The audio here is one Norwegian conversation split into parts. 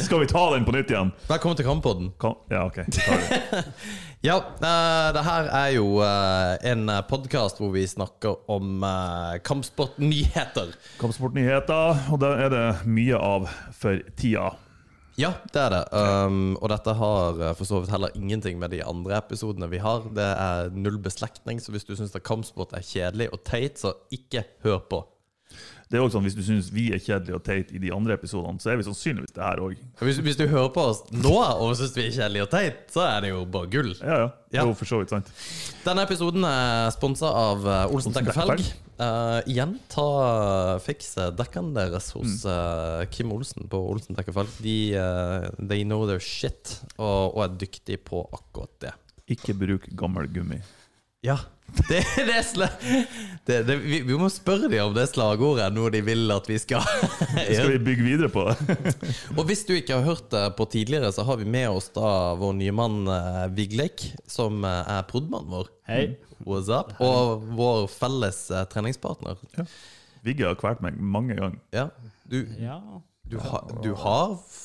Skal vi ta den på nytt igjen? Velkommen til Kampodden. Kan, ja, ok. Tar det. Ja, eh, det her er jo eh, en podkast hvor vi snakker om eh, kampsportnyheter. Kampsportnyheter, og det er det mye av for tida. Ja, det er det. Um, og dette har eh, for så vidt heller ingenting med de andre episodene vi har. Det er null beslektning, så hvis du syns kampsport er kjedelig og teit, så ikke hør på. Det er også sånn, Hvis du syns vi er kjedelige og teite i de andre episodene, så er vi sannsynligvis det her òg. Hvis, hvis du hører på oss nå og syns vi er kjedelige og teit, så er det jo bare gull. Ja, ja. Det er Ja. jo for så vidt sant. Denne episoden er sponsa av eh, Olsen Dekk og Felg. Dekk Eh, igjen, ta, fiks eh, dekkene deres hos eh, Kim Olsen på Olsen Dekk og Felg. De, eh, they know their shit, og, og er dyktige på akkurat det. Ikke bruk gammel gummi. Ja. Det, det, er sla det, det, vi, vi må spørre dem om det slagordet er noe de vil at vi skal Skal gjøre. vi bygge videre på det? Og hvis du ikke har hørt det på tidligere, så har vi med oss da vår nye mann eh, Vigleik, som eh, er prodmannen vår. Hei. What's up? Og vår felles eh, treningspartner. Ja. Vigge har kvalt meg mange ganger. Du, Ja. du, ha, du har f-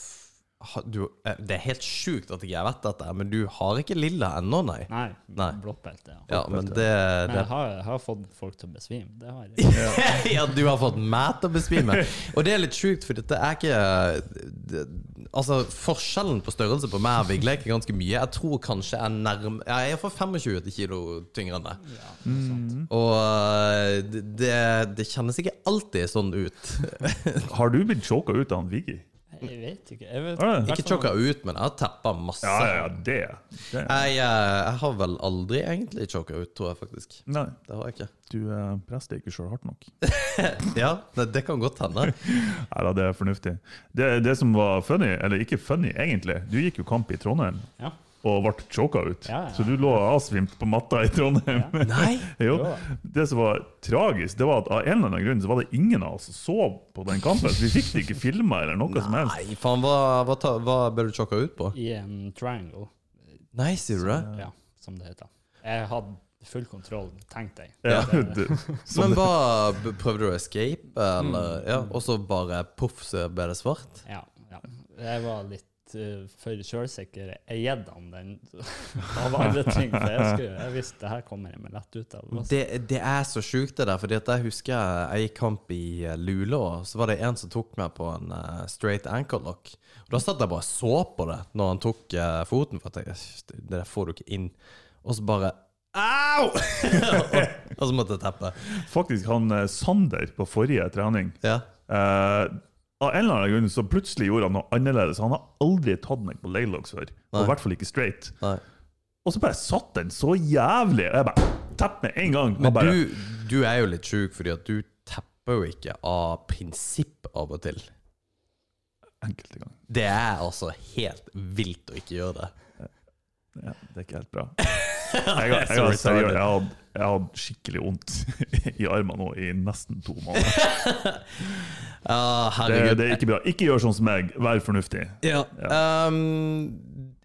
ha, du, eh, Det er helt sjukt at ikke jeg vet dette, men du har ikke lilla ennå, nei. Nei. Nei. Blått belte. Ja. Ja, men det, Men det jeg har, jeg har fått folk til å besvime. Det har jeg. ja, du har fått meg til å besvime. Og det er litt sjukt, for dette er ikke det, Altså, forskjellen på størrelse på meg og Vigle er ikke ganske mye. Jeg tror kanskje jeg er nærm... ja, Jeg er for 25 kilo tyngre enn deg. Ja, noe sånt. Og eh, det, det- det kjennes ikke alltid sånn ut. Har du blitt choka ut av han Viggy? Jeg vet ikke. Jeg vet, Har du det? Ikke choka ut, men jeg har tappa masse. Ja, ja, ja, det. det. Jeg, eh, jeg har vel aldri egentlig choka ut, tror jeg faktisk. Nei, Det har jeg ikke. du eh, presser ikke sjøl hardt nok. Ja, det, det kan godt hende. Nei da, det er fornuftig. Det, det som var funny, eller ikke funny egentlig, du gikk jo kamp i Trondheim. Ja. og ble choka ut. Ja, ja. Så du lå avsvimt på matta i Trondheim. Nei! Jo. Jo. Det som var tragisk, det var at av en eller annen grunn så var det ingen av oss som sov på den kampen. Så vi fikk det ikke filma eller noe som helst. Nei, faen, hva, hva, ta- hva ble du choka ut på? I en triangle, Nei, sier du det? ja, som det heter. Jeg hadde full kontroll, tenk deg. Ja, Det- det, Sånn, Men hva, b- prøvde du å escape, eller, ja, og så bare poff, så ble det svart? Ja, ja. Jeg var litt eh, for sjølsikker. Jeg gjedde han den av alle ting. For jeg, skulle, jeg visste det her kommer jeg meg lett ut av. Det, det er så sjukt det der, for jeg husker jeg gikk kamp i eh, Luleå, så var det en som tok meg på en eh, straight ankle lock. Og da satt jeg bare og så på det når han tok eh, foten, for jeg tenkte, "Æsj, det det der får du ikke inn. Og så bare, au! og, og så måtte jeg teppe. faktisk han eh, Sander på forrige trening Ja. eh, Av en eller annen grunn så plutselig gjorde han noe annerledes. Han har aldri tatt meg på leglocks før, og Nei. i hvert fall ikke straight. Nei. Og så bare satt den så jævlig, og jeg bare tepp med en gang. Men Og bare, du, du er jo litt sjuk, fordi at du tepper jo ikke av prinsipp av og til. Enkelte ganger. Det er altså helt vilt å ikke gjøre det. Ja, det er ikke helt bra. Jeg har, jeg har, Sorry, sorry. seriøst, jeg har, hatt- jeg har hatt skikkelig vondt i armene nå i nesten to måneder. Ja, Det, herregud. det er ikke bra. Ikke gjør sånn som meg. Vær fornuftig. Ja. Um,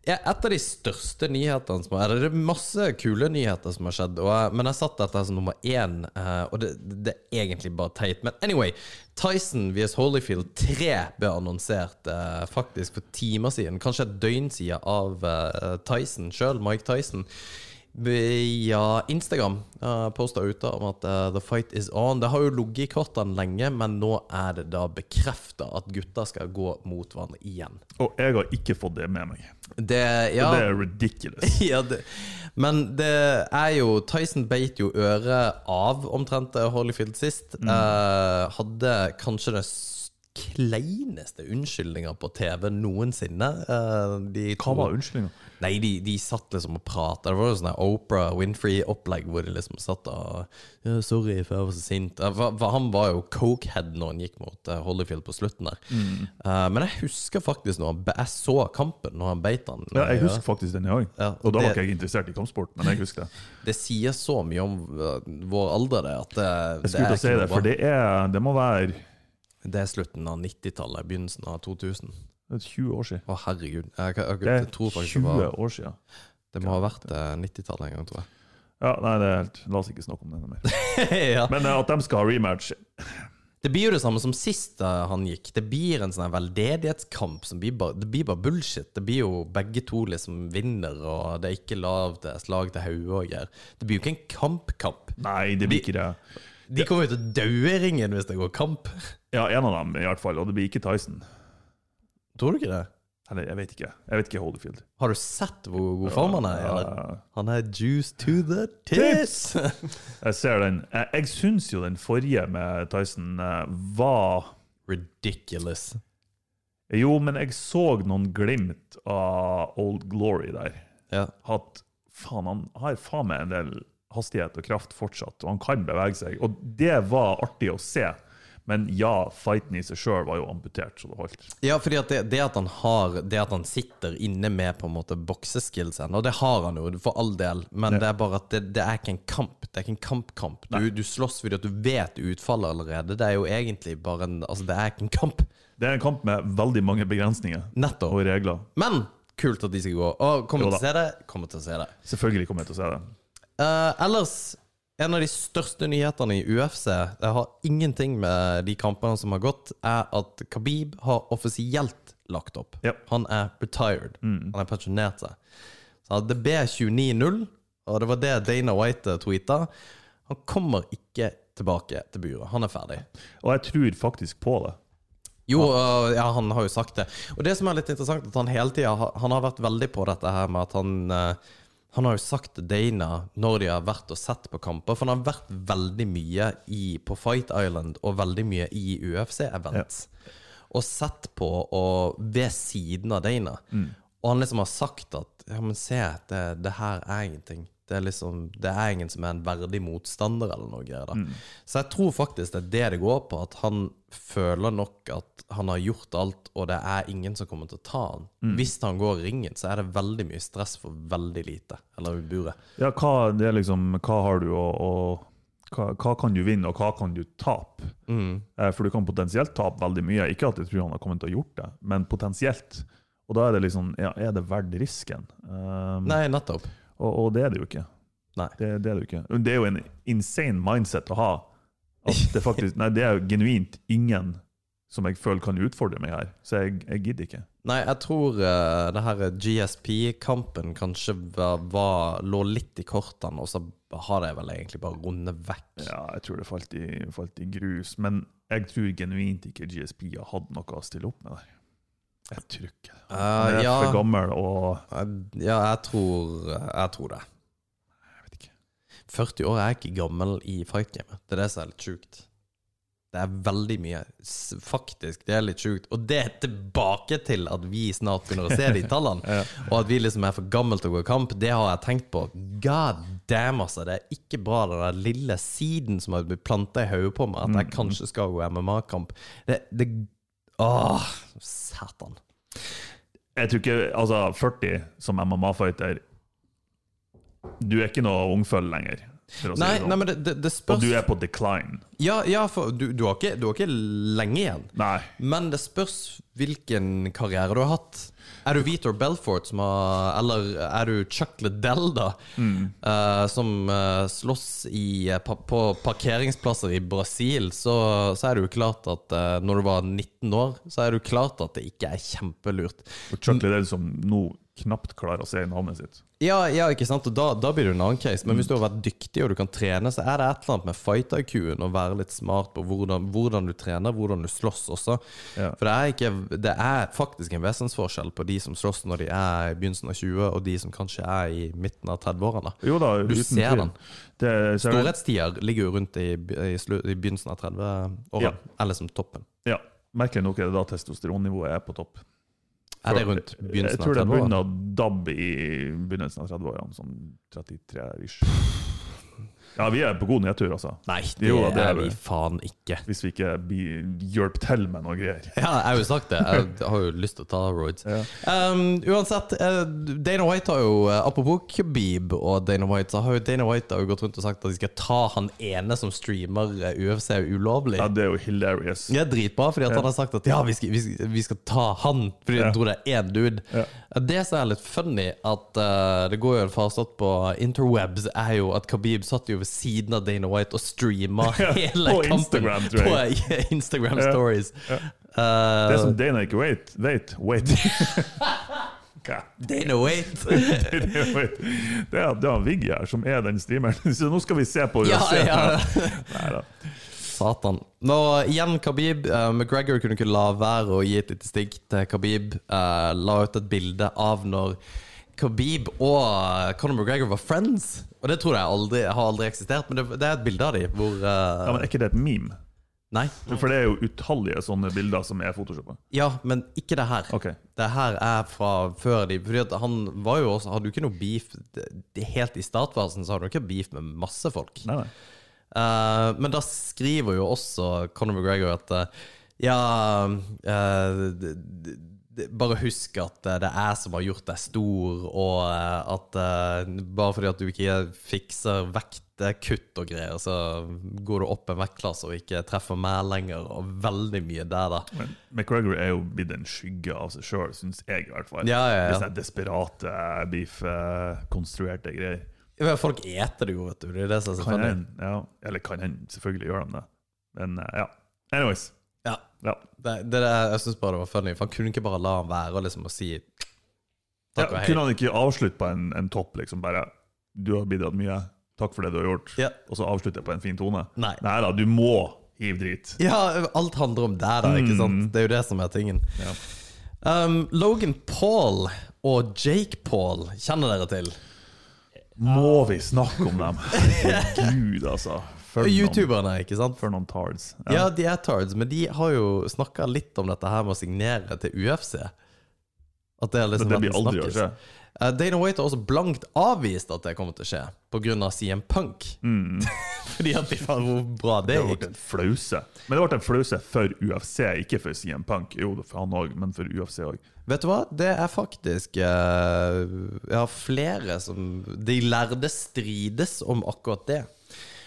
ja, et av de største nyhetene som har Det er masse kule nyheter som har skjedd, og, jeg- men jeg satt dette som nummer én, eh, og det, det er egentlig bare teit. Men anyway, Tyson vs Holyfield 3 ble annonsert eh, faktisk for timer siden, kanskje et døgn siden, av eh, Tyson sjøl, Mike Tyson. Via Instagram uh, posta ute om at eh, the fight is on. Det har jo ligget i kortene lenge, men nå er det da bekrefta at gutta skal gå mot hverandre igjen. Og jeg har ikke fått det med meg. Det, ja, Det er ridiculous. ja, det, men det er jo Tyson beit jo øret av omtrent eh, Holyfield sist. Mm. Eh, hadde kanskje den s- kleineste unnskyldninga på TV noensinne. Eh, de Hva to- var unnskyldninga? Nei, de, de satt liksom og prata. Det var jo sånn der Oprah Winfrey-opplegg hvor de liksom satt og ja, 'Sorry, for jeg var så sint'. Eh, For, for han var jo cokehead når han gikk mot eh, Holyfield på slutten der. Mm. Eh, men jeg husker faktisk når han, be- jeg så kampen når han beit han. eh, Ja, jeg husker faktisk den jeg òg. Ja, Og da var det- ikke jeg interessert i kampsport, men jeg husker det. Det sier så mye om eh, vår alder, det. At eh, Jeg det, skulle er til å si ikke noe det, bra. for det, er, det må være det er slutten av 90-tallet, begynnelsen av 2000. det er 20 år siden. Å, herregud. Jeg, kan- jeg, Det er tror faktisk det, 20 var, år siden. det må ha vært eh, 90-tallet en gang, tror jeg. Ja, nei, det er helt, la oss ikke snakke om det noe mer. ja. Men eh, at de skal ha rematch Det blir jo det samme som sist eh, han gikk. Det blir en sånn her veldedighetskamp. Som blir bare, det blir bare bullshit. Det blir jo begge to liksom vinner, og det er ikke lav til slag til hodet og greier. Det blir jo ikke en kamp-kamp. Nei, det blir ikke det. De kommer jo til å daue i ringen hvis det går kamp. Ja, en av dem i hvert fall, og det blir ikke Tyson. Tror du ikke det? Eller, jeg vet ikke. Jeg vet ikke Holyfield. Har du sett hvor god form han er? eller? Ja, Han er juice to the tits! jeg ser den. Jeg, jeg syns jo den forrige med Tyson eh, var Ridiculous. Jo, men jeg så noen glimt av Old Glory der. Ja. At faen, han har faen meg en del hastighet og kraft fortsatt, og han kan bevege seg. Og det var artig å se. Men ja, fighten i seg sjøl var jo amputert, så det holdt. Ja, fordi at det, det at han har Det at han sitter inne med på en måte bokseskills ennå, det har han jo, for all del, men det er bare at det, det er ikke en kamp. Det er ikke en kampkamp. Du, du slåss fordi at du vet utfallet allerede. Det er jo egentlig bare en Altså, det er ikke en kamp. Det er en kamp med veldig mange begrensninger Nettopp. og regler. Men kult at de skal gå. Og kommer Jo til å se det. Kommer til å se det. Selvfølgelig kommer jeg til å se det. Eh, ellers, en av de største nyhetene i UFC, det har ingenting med de kampene som har gått, er at Khabib har offisielt lagt opp. Ja. Han er retired. Han er pensjonert seg. Så han hadde B29-0, og det var det Dana White tweeta. Han kommer ikke tilbake til buret. Han er ferdig. Og jeg tror faktisk på det. Jo, øh, ja, han har jo sagt det. Og det som er litt interessant, at han hele tida har- han har vært veldig på dette her med at han øh, Han har jo sagt til Dana når de har vært og sett på kamper, for han har vært veldig mye i, på Fight Island og veldig mye i UFC-events. Og sett på og ved siden av Dana. Og han liksom har sagt at Ja, men se, det, det her er ingenting. Det er liksom Det er ingen som er en verdig motstander, eller noe greier. da Så jeg tror faktisk det er det det går på, at han føler nok at han har gjort alt, og det er ingen som kommer til å ta han. Hvis han går i ringen, så er det veldig mye stress for veldig lite. Eller i buret. Ja, hva, det er liksom, hva har du å å- hva, hva kan du vinne, og hva kan du tape? Eh, For du kan potensielt tape veldig mye. Ikke at jeg tror han har kommet til å gjort det, men potensielt. Og da er det liksom ja, Er det verdt risken? Um, Nei, nettopp. og, og det er det jo ikke. Nei. Det, det er det jo ikke. Men Det er jo en insane mindset å ha. At det faktisk Nei, det er jo genuint ingen som jeg føler kan utfordre meg her, så jeg, jeg gidder ikke. Nei, jeg tror eh, det her GSP-kampen kanskje var, var, lå litt i kortene, og så har de vel egentlig bare rundet vekk. Ja, jeg tror det falt i, falt i grus. Men jeg tror genuint ikke GSP har hatt noe å stille opp med der. Jeg tror ikke det. Han Eh, er ja, for gammel og eh, ja, jeg tror, jeg tror det. Jeg vet ikke. 40 år er ikke gammel i fightgamet. Det er det som er litt sjukt. Det er veldig mye. S- Faktisk, det er litt sjukt. Og det er tilbake til at vi snart begynner å se de tallene. Ja. Og at vi liksom er for gammel til å gå i kamp, det har jeg tenkt på. God damn, altså. Det er ikke bra, den der lille siden som har blitt planta i hodet på meg, at Mm. jeg kanskje skal gå MMA-kamp. Det, det Åh, satan. Jeg tror ikke Altså, 40 som MMA-fighter Du er ikke noe ungfølge lenger, for å si Nei, det nei, sånn. men det, det, det Og spørs du er på decline. Ja, ja, for du, du, har ikke, du har ikke lenge igjen. Nei. Men det spørs hvilken karriere du har hatt. Er du Vitor Belfort, som har, eller er du Chuck Liddell, da? eh, som eh, slåss i, eh, pa, på parkeringsplasser i Brasil, så, så er det jo klart at eh, når du var 19 år, så er det jo klart at det ikke er kjempelurt. Og Chuck Liddell som nå knapt klarer å se navnet sitt. Ja, ja, ikke sant? Og da, da blir det jo en annen case. Men hvis du har vært dyktig og du kan trene, så er det et eller annet med fight-IQ-en å være litt smart på hvordan, hvordan du trener, hvordan du slåss også. Ja. For det er, ikke, det er faktisk en vesensforskjell på de som slåss når de er i begynnelsen av 20, og de som kanskje er i midten av 30-årene. Jo da, Du uten ser tvil. den. Det, ser du- Storhetstider ligger jo rundt i, i, slu, i begynnelsen av 30-årene, Ja. eller som toppen. Ja. Merkelig nok er det da testosteronnivået er på topp. Er det rundt Jeg begynnelsen av tror det 30-årene? begynner å dabbe i begynnelsen av 30-årene, sånn 33-ish. Ja, vi er på god nedtur, altså. Nei, det, Jo da, det er er vi det. faen ikke. Hvis vi ikke blir hjelper til med noe greier. Ja, jeg har jo sagt det. Jeg har jo lyst til å ta roids. Ja. Um, uansett, eh, Dana White har jo eh, Apropos Khabib og Dana White, så har jo Dana White har jo gått rundt og sagt at de skal ta han ene som streamer eh, UFC ulovlig. Ja, det er jo hilarious. Det er dritbra, fordi at han har sagt at ja, vi skal, vi skal, vi skal ta han, fordi han tror det er én dude. Det som er litt funny, at eh, det går jo en farsott på interwebs, er jo at Khabib satt jo ved ved siden av Dana White og streama hele på kampen Instagram, tror på eh, Instagram Ja. Stories. Det Eh, som Dana ikke vet, vet, wait. Hva? Dana White! Det er jo et- det er, det er Viggy her som er den streameren. Så nå skal vi se på Ja, UFC. ja. Neida. Satan. Nå, igjen Khabib. Eh, McGregor kunne ikke la være å gi et lite stikk til Khabib. Eh, la ut et bilde av når Khabib og eh, Conor McGregor var friends. Og det tror jeg aldri har aldri eksistert, men det, det er et bilde av dem hvor eh, Ja, men er ikke det et meme? Nei. For det er jo utallige sånne bilder som er photoshoppa. Ja, men ikke det her. Ok. Det her er fra før de Fordi at han var jo også Hadde jo ikke noe beef det, det, Helt i startfasen så hadde han jo ikke beef med masse folk. Nei, nei. Eh, men da skriver jo også Conor McGregor at eh, Ja eh, d- d- d- Bare husk at eh, det er jeg som har gjort deg stor, og eh, at eh, bare fordi at du ikke fikser vektkutt og greier, så går du opp en vektklasse og ikke treffer meg lenger, og veldig mye der, da. Men McGregor er jo blitt en skygge av seg sjøl, syns jeg i hvert fall. Ja, ja, Det er ja. sånne desperate beef-konstruerte greier. Ja, Folk eter det jo, vet du. Det er det som er så Kan funny. hende, ja. Eller kan hende, selvfølgelig gjør de det. Men eh, ja. Anyways. Ja. Ja. Det, det, der- jeg syns bare det var funny, for han kunne ikke bare la han være og liksom å si ja takk og hei. kunne han ikke avslutte på en, en topp, liksom bare Du har bidratt mye, takk for det du har gjort, Ja. og så avslutte på en fin tone? Nei. Nei da, du må hive drit. Ja, alt handler om deg, da. ikke Mm. sant? Det er jo det som er tingen. Ja. Um, Logan Paul og Jake Paul kjenner dere til. Må vi snakke om dem? Gud, altså. For noen, Youtuberne, ikke sant? for noen tards. Ja, de er tards, men de har jo snakka litt om dette her med å signere til UFC. At det har liksom Men det blir vært en aldri å snakkis. skje. Eh, Dana White har også blankt avvist at det kommer til å skje, pga. CM Punk. Fordi at de fant hvor bra Mm. det Det har gikk. vært en flause. Men det ble en flause for UFC, ikke for CM Punk. Jo, for han òg, men for UFC òg. Vet du hva? Det er faktisk eh, Jeg har flere som De lærde strides om akkurat det.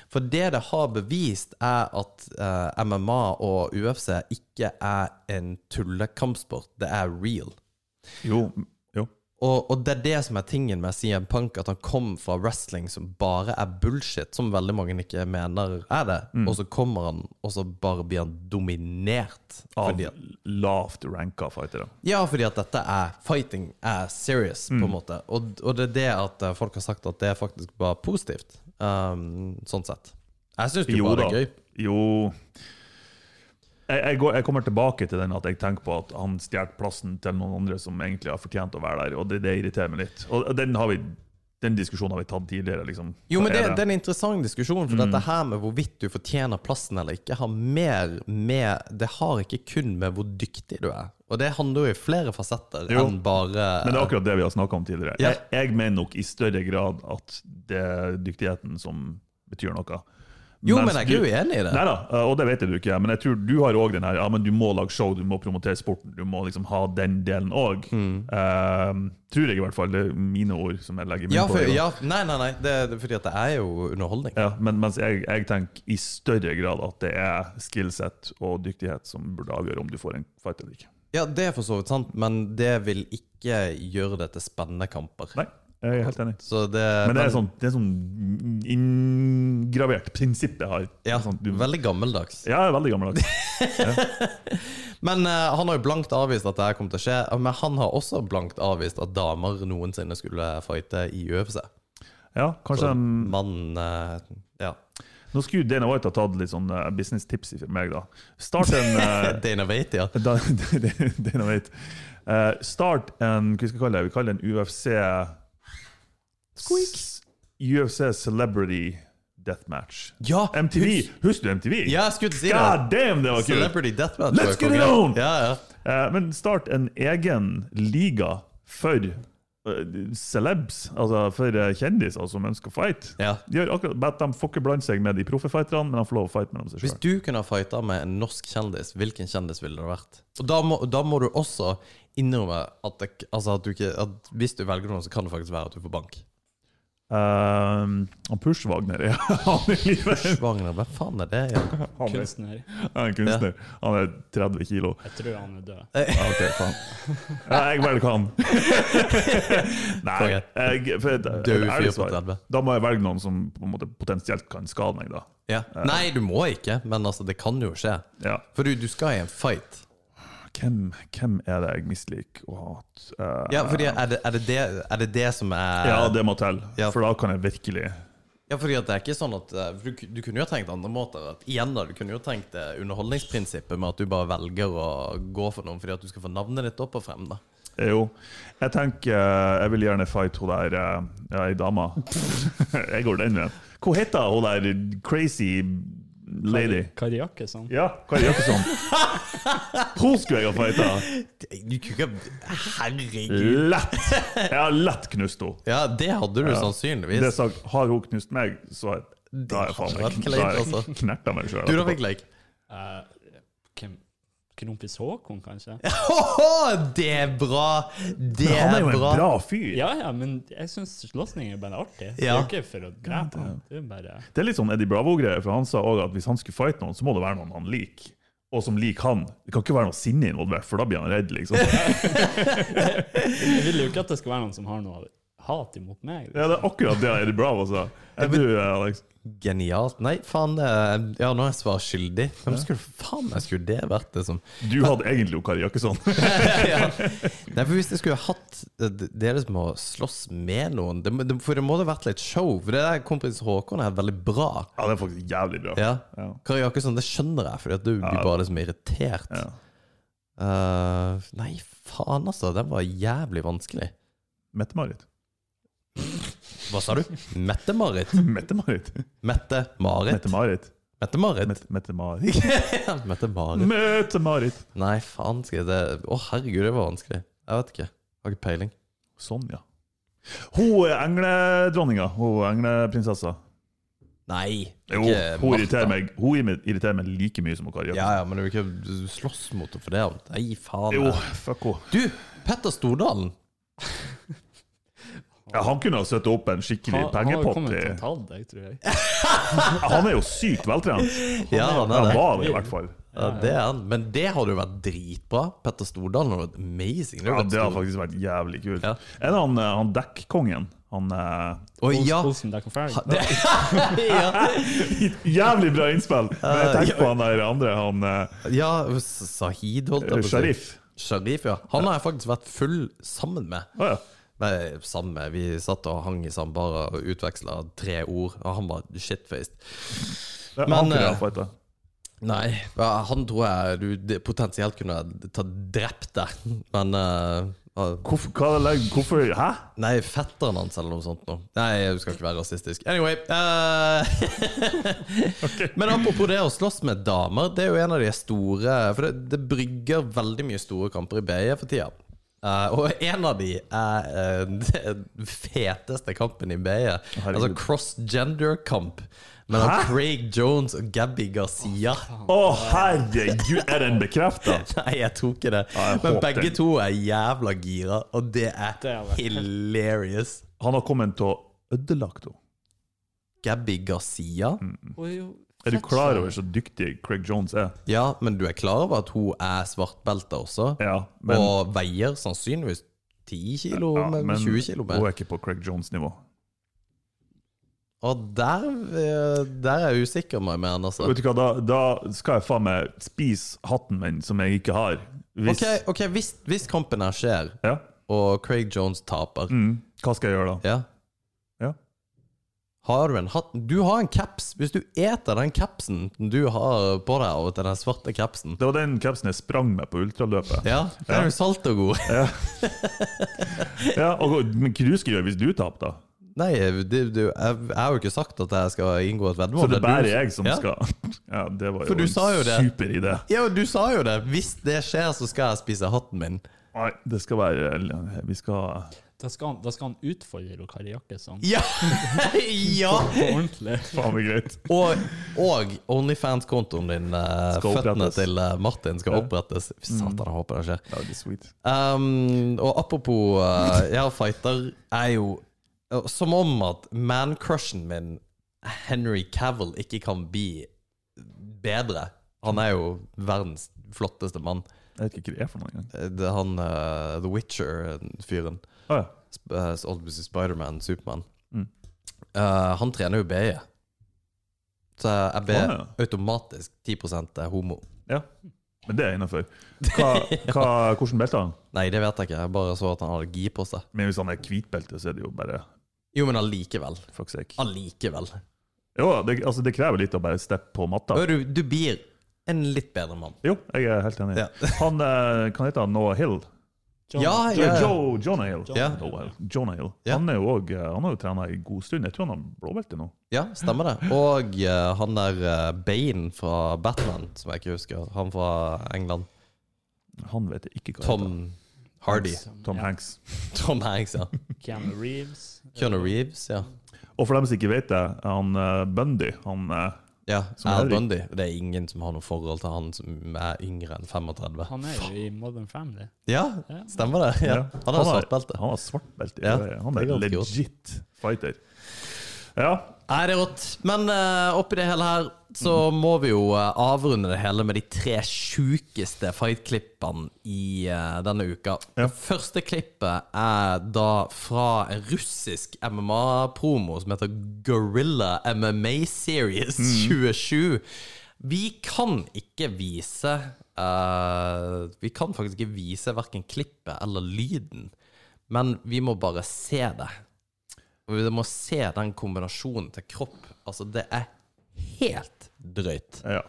For det det har bevist, er at eh, MMA og UFC ikke er en tullekampsport. Det er real. Jo, jo. Og, og det er det som er tingen med CM Punk, at han kom fra wrestling som bare er bullshit, som veldig mange ikke mener er det. Og så kommer han, og så bare blir han dominert. Av Fordi at lavt ranka fightere. ja, fordi at dette er Fighting er serious, Mm. på en måte. Og, og det er det at eh, folk har sagt at det faktisk var positivt. Um, sånn sett. Jeg syns jo Jo bare da. det er gøy. Jo jeg, jeg, går, jeg kommer tilbake til den at jeg tenker på at han stjal plassen til noen andre som egentlig har fortjent å være der, og det, det irriterer meg litt. Og den, har vi, den diskusjonen har vi tatt tidligere, liksom. Jo, men Hva det, er Mm. det er en interessant diskusjon, for dette her med hvorvidt du fortjener plassen eller ikke, har mer med Det har ikke kun med hvor dyktig du er. Og det handler jo i flere fasetter Jo. enn bare Men det er akkurat det vi har snakka om tidligere. Ja. Jeg, jeg mener nok i større grad at det er dyktigheten som betyr noe. Jo, men jeg er ikke uenig i det. Nei da, eh, og det vet jeg du ikke er. Men jeg tror du har òg den her ja, men du må lage show, du må promotere sporten, du må liksom ha den delen òg. Mm. tror jeg i hvert fall. Det er mine ord som jeg legger min Ja, på. for, det, da. ja, nei, nei, nei. Det, det, er fordi at det er jo underholdning. Ja, men mens jeg, jeg tenker i større grad at det er skillset og dyktighet som burde avgjøre om du får en fight eller ikke. Ja, det er for så vidt sant, men det vil ikke gjøre det til spennende kamper. Nei, jeg er helt enig. Så det, Men det er sånn, det er sånn inngravert prinsipp jeg har. Ja, Sånn, du, veldig gammeldags. Ja, jeg er veldig altså. gammeldags. Men eh, han har jo blankt avvist at det her kom til å skje. Men han har også blankt avvist at damer noensinne skulle fighte i UFC. Ja, kanskje um, Mann eh, Ja. Nå skulle jo Dana White ha tatt litt sånn eh, business-tips fra meg, da. Start en eh, Dana Waite, ja. da, Dana White. Eh, start en Hva skal vi kalle det? Vi kaller det en UFC Squeak. UFC Celebrity Death Match. Ja, MTV! Husker du MTV? Ja, jeg skulle til å si det. God damn, det var kult! Celebrity Deathmatch. Let's var get konge. it on! Ja, ja. Eh, men start en egen liga for eh, celebs, altså for eh, kjendiser som ønsker å fight. ja. De, gjør akkurat, bare at de får ikke blande seg med de proffe fighterne, men de får lov å fighte mellom seg Hvis sjøl. du kunne ha fighta med en norsk kjendis, hvilken kjendis ville det vært? Og Da må, da må du også innrømme at, det, altså at, du ikke, at hvis du velger noen, så kan det faktisk være at du får bank. Eh, Ehm, han Pushwagner er han i livet. Wagner, hvem faen er det? igjen? Han er, Kunstner. han er en kunstner. Han er 30 kilo. Jeg tror han er død. Ja, ok, faen. Ja, jeg velger han. Nei jeg, for, et- et Død fyr ærlig på svar. 30. Da må jeg velge noen som på en måte potensielt kan skade meg, da. Ja. Nei, du må ikke, men altså, det kan jo skje. Ja. For du, du skal i en fight. Hvem, hvem er det jeg misliker å hate? Eh, Ja, fordi er det er det, det, er det, det som er ja, det må til, Ja. for da kan jeg virkelig Ja, fordi at det er ikke sånn at eh, for du, ku- du kunne jo ha tenkt andre måter. At, igjen da, Du kunne jo ha tenkt eh, underholdningsprinsippet med at du bare velger å gå for noen fordi at du skal få navnet ditt opp og frem. da Jo. Jeg tenker eh, jeg vil gjerne fight hun der eh, ja, ei dama. jeg går den veien. Hva heter hun der crazy lady? Kariakke, sånn. Ja, Kari Jakkesson. Hun skulle jeg ha fighta! Det- Du kunne ikke Herregud. Lett! Jeg har lett knust henne. Ja, det hadde du sannsynligvis. Det sagt, har hun knust meg, så har jeg- da har jeg faen hadde vært meg kleint, da har jeg altså. knerta meg sjøl. du da, Vigleik? Eh, hvem? Kronprins Haakon, kanskje? Ho-ho, Det er bra! Det Han er er jo en bra. bra fyr. Ja ja, men jeg syns slåssing er bare artig. Det er Ja. jo ikke for å drepe ham. Det er bare Det er litt sånn Eddie Bravo-greier, for han sa også at hvis han skulle fighte noen, så må det være noen han liker. Og som liker han. Det kan ikke være noe sinne involvert, for da blir han redd, liksom. Jeg vil jo ikke at det skal være noen som har noe hat imot meg. Ja, det er akkurat det Eddie Bravo sa. Er du, Alex? Genialt. Nei, faen det er, Ja, nå er jeg svar skyldig. Hvem skulle faen meg skulle det vært? liksom Du hadde egentlig jo Kari Jakkesson. ja. Nei, for hvis jeg skulle hatt det- dere som må slåss med noen det, må- det, For det må det ha vært litt show. For det der kompis Håkon er veldig bra. Ja, det er faktisk jævlig bra. Ja. Ja. Kari Jakkesson, det skjønner jeg, for du blir bare liksom irritert. Ja. Eh, nei, faen altså. Den var jævlig vanskelig. Mette-Marit. Hva sa du? Mette-Marit? Mette-Marit. Mette-Marit? Mette-Marit. Mette-Marit? Mett- Mette-Marit. Mette-Marit. Mette-Marit. Nei, faen. Skal jeg det Å, herregud, det var vanskelig. Jeg vet ikke. Jeg har ikke peiling. Sånn, Sonja. Hun er engledronninga. Hun er engleprinsessa. Nei. Jo, ikke hun Martha. irriterer meg Hun irriterer meg like mye som Kari Ja, Jakkesson. ja, men du vil ikke slåss mot henne for det? Nei, faen. Jo, fuck henne. Du, Petter Stordalen! Ja, han kunne ha satt opp en skikkelig Han- Han har pengepott. kommet til å i- ta deg, tror jeg. Han er jo sykt veltrent. Ja, han er Han det. var det, i hvert fall. Ja, det er han. Men det hadde jo vært dritbra. Petter Stordalen hadde vært amazing. Ja, vært det har stor- faktisk vært jævlig kult. Ja. Er det han, eh, han dekkkongen? Han eh, Oi, ja. Olsen Dekken Ferg. Det, ja. Jævlig bra innspill! Men jeg tenker på han der andre, han eh, ja, Sahid, holdt jeg på å si. Sharif. Sharif, ja. Han har jeg faktisk vært full sammen med. Å ja. Nei, Sammen med. Vi satt og hang i samme bar og utveksla tre ord, og han var shitfaced. Det er Men, han kunne eh, ha fighta. Nei, ja, han tror jeg du det- potensielt kunne ta drept der, men eh, ja. Hvorfor, hva legger, hvorfor Hæ? Nei, fetteren hans eller noe sånt nå. Nei, du skal ikke være rasistisk. Anyway. eh, Men apropos det å slåss med damer, det er jo en av de store For det, det brygger veldig mye store kamper i BI for tida. Eh, og en av de er eh, den feteste kampen i BI. Altså herregud. cross-gender-kamp mellom Hæ? Craig Jones og Gabby Garcia. Å, herregud! Er den bekrefta? Nei, jeg tror ikke det. jeg Men håper begge det. to er jævla gira, og det er Det er det. hilarious. Han har kommet til å ødelegge henne. Gabby Garcia. Mm. Er du klar over så dyktig Craig Jones er? Ja, men du er klar over at hun er svartbelte også? Ja, men, og veier sannsynligvis 10 kilo, ja, men, men 20 kilo hun mer. er ikke på Craig Jones-nivå. Og der, eh, der er jeg usikker med meg, altså. Vet du hva, da, da skal jeg faen meg spise hatten min, som jeg ikke har. Hvis, Ok, ok, hvis, hvis kampen her skjer, ja. og Craig Jones taper, mm, hva skal jeg gjøre da? ja, Ja. har du en hatt? Du har en caps. Hvis du eter den capsen du har på deg av og til, den svarte capsen, Det var den capsen jeg sprang med på ultraløpet. ja, den er jo salt og god. Ja, og, men hva du skal gjøre hvis du taper, da? Nei, eh, det, det, jeg, jeg har jo ikke sagt at jeg skal inngå et veddemål. Så det er bare du- jeg som Ja. skal Ja, det var For jo du en sa jo det. super idé. Ja, men du sa jo det. Hvis det skjer, så skal jeg spise hatten min. Nei, det skal være Vi skal Da skal han, da skal han utfordre og kariakke sånn. Ja! ja! På ordentlig. Faen meg greit. Og, og OnlyFans-kontoen din, eh, Skal føttene opprettes. Mm. til eh, Martin, skal opprettes. Fy Satan, jeg håper det skjer. Ja, det er sweet. Um, og apropos eh, Ja, fighter er jo Og Som om at mancrushen min, Henry Cavill, ikke kan bli bedre. Han er jo verdens flotteste mann. Jeg vet ikke hva det er for noe engang. Eh, Det er han eh, The Witcher-fyren. Ah, ja. Sp- eh, så Obviously Spiderman, Supermann. Mm. Eh, han trener jo BI. Så jeg ber Ah, ja. automatisk 10 er homo. Men det er innafor. Hvordan belte har han? Nei, det vet jeg ikke. Jeg bare så at han hadde gi på seg. Men hvis han er hvitbelte, så er det jo bare Jo, men allikevel. fuck sake. Allikevel. Jo, det, altså, det krever litt å bare steppe på matta. Og Du, du blir en litt bedre mann. Jo, jeg er helt enig. Ja. Han eh, kan hete han Noah Hill. John, Ja, Jo, ja. Joe, Jonah Hill. Ja. Noah Hill. Jonah Hill. Ja. Han, er jo også, eh, han har jo trena i god stund. Jeg tror han har blåbelte nå. Ja, stemmer det. Og eh, han der eh, Bane fra Batman, som jeg ikke husker, han fra England. Han vet jeg ikke hva Tom heter. Hardy. som- Tom ja, Hanks. Tom Hanks, ja. Keanu Reeves. Keanu Reeves, ja. Og for dem som ikke vet det, han eh, Bundy han, eh, Ja, Som Al Harry. Bundy. Det er ingen som har noe forhold til han som er yngre enn 35. Han er jo i Modern Family. Ja, Ja. stemmer det? Ja. ja, Han har svart belte. Han har svart belte. Ja, Ja, Han det er er ganske rått. legit fighter. Ja, Nei, det er rått. Men eh, oppi det hele her så må vi jo eh, avrunde det hele med de tre sjukeste fight-klippene i eh, denne uka. Ja. Det Første klippet er da fra en russisk MMA-promo som heter Gorilla MMA Series 27. Vi kan ikke vise eh, Vi kan faktisk ikke vise verken klippet eller lyden, men vi må bare se det. Og vi må se den kombinasjonen til kropp. Altså, det er helt drøyt. ja.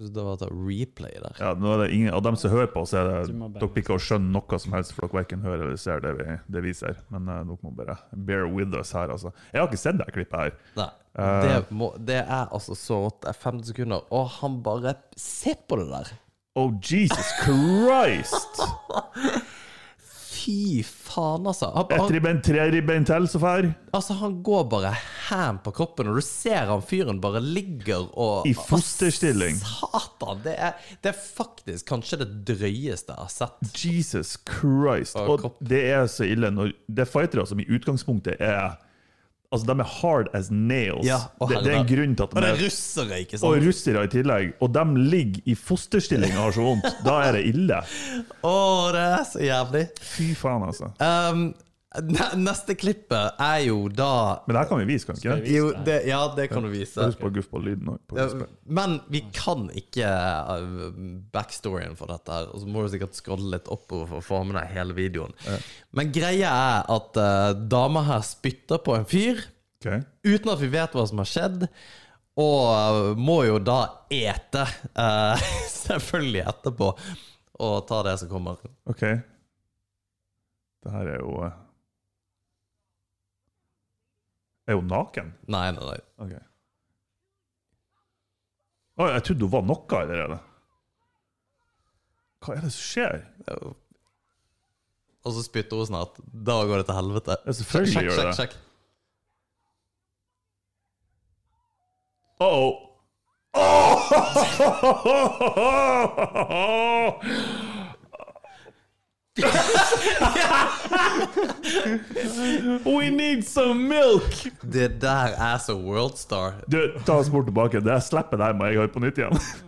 Så Det var et replay der. Ja, nå er det ingen av dem som hører på, så er det Du må bare- dere ikke å skjønne noe som helst, for dere verken hører eller ser det vi, det vi ser. Men eh, dere må bare bear with us her, altså. Jeg har ikke sett det her klippet her. Nei, det, Eh. må, det er altså så rått. Det er 15 sekunder, og han bare Se på det der! Oh, Jesus Christ! Fy faen, altså. Han, Et han, ribbein, tre ribbein til, så fær. altså, han går bare ham på kroppen, og du ser han fyren bare ligger og I fosterstilling. Satan! Det er, det er faktisk kanskje det drøyeste jeg har sett. Jesus Christ. Og Og kopp. det er så ille når Det er fightere som i utgangspunktet er Altså, de er hard as nails. Ja, og det, det er en herre. grunn til at Og det de er er russere, ikke sant? og russere i tillegg, og de ligger i fosterstilling og har så vondt. Da er det ille. Å, det er så jævlig. Fy faen, altså. Um, ne- neste klippet er jo da Men det her kan vi vise, kan vi ikke det? jo, det, Ja, det kan du vise. Husk på guff på lyden òg. Men vi kan ikke uh, backstoryen for dette. her Og så må du sikkert scrolle litt oppover for å få med deg hele videoen. Men greia er at uh, dama her spytter på en fyr Okay. uten at vi vet hva som har skjedd. Og uh, må jo da ete, uh, selvfølgelig etterpå, og ta det som kommer. OK. Det her er jo eh, eh, Er hun naken? Nei, nei, nei. OK. Å, jeg trodde hun var noe allerede. Hva er det som skjer? Og så spytter hun snart. Da går det til helvete. Ja, selvfølgelig Sjekk, gjør sjekk, det. sjekk. Uh-oh. Oh! We need some milk! Det der er så worldstar. Du, ta oss bort tilbake. Det slipper deg, må jeg høre på nytt igjen.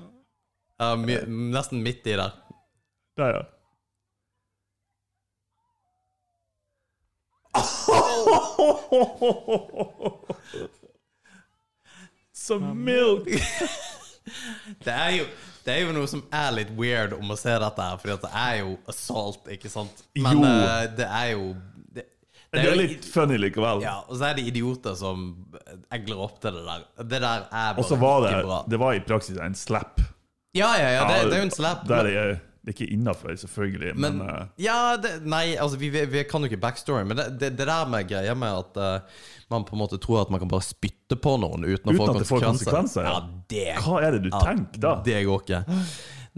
Ja, my, nesten midt i der. Der, ja. Some milk! Det er, jo, det er jo noe som er litt weird om å se dette her, fordi at det er jo assault, ikke sant? Men Jo. eh, det er jo det, det Det er er jo litt funny likevel. Ja, og så er det idioter som egler opp til det der. Det der er Og så bare var det ikke bra. Det var i praksis en slap. Ja, ja, ja, det, det er jo en slap. Der er jeg, det er ikke innafor, selvfølgelig, men, Men, eh, ja, det, nei, altså vi, vi, vi kan jo ikke backstory, men det, det, det der med greia med at eh, man på en måte tror at man kan bare spytte på noen uten å Uten få at det får konsekvenser, konsekvenser. ja. ja. det hva er det du tenker da? det går ikke.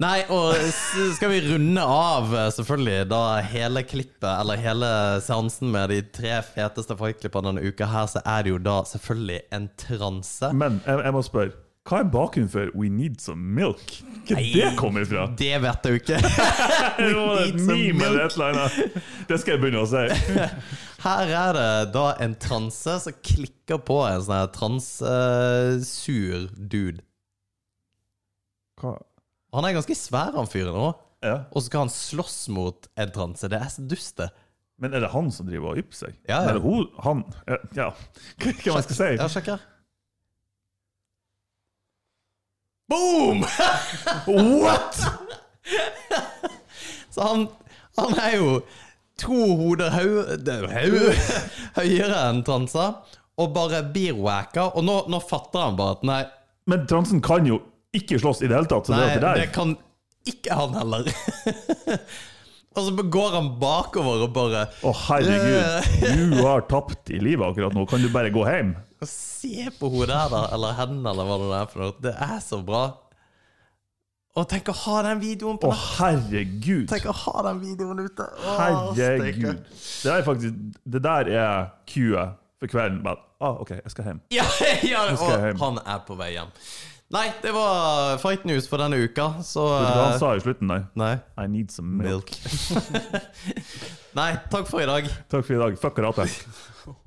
Nei, og s- skal vi runde av eh, selvfølgelig da hele klippet, eller hele seansen med de tre feteste fightklippene denne uka her, så er det jo da selvfølgelig en transe. Men jeg, jeg må spørre, hva er bakgrunnen for 'We need some milk'? Hva det kommer fra? Det vet jeg jo ikke. Det var et need some meme eller milk. et eller annet. Det skal jeg begynne å si. Her er det da en transe som klikker på en sånn her transsur dude. Hva? Han er ganske svær, han fyren òg. Ja. Og så skal han slåss mot en transe. Det er så dust, det. Men er det han som driver og ypper seg? Ja, ja. Eller hun? Han? Ja, Ja. Hva hva man skal si? Ja, sjekk her. Boom! What?! Så han, han er jo to hoder høy, det er jo høy, høyere enn transa, og bare blir wacka. Og nå, nå fatter han bare at nei, Men transen kan jo ikke slåss i det hele tatt, så nei det er det der. kan ikke han heller. og så går han bakover og bare Å, herregud. Du har tapt i livet akkurat nå. Kan du bare gå hjem? Se på hodet her, da, eller hendene, eller hva det nå er for noe. Det er så bra. Og tenk å ha den videoen på Å, natt. herregud. Tenk å ha den videoen ute. Å, Herregud. steike. Det der er faktisk Det der er queuet for kvelden. Bare, ah, OK, jeg skal hjem. Ja, ja skal jeg hjem. og han er på vei hjem. Nei, det var Fight News for denne uka, så Vet du hva han eh, sa i slutten der? Nei. I need some milk. Milk. nei, takk for i dag. Takk for i dag. Fuck karate.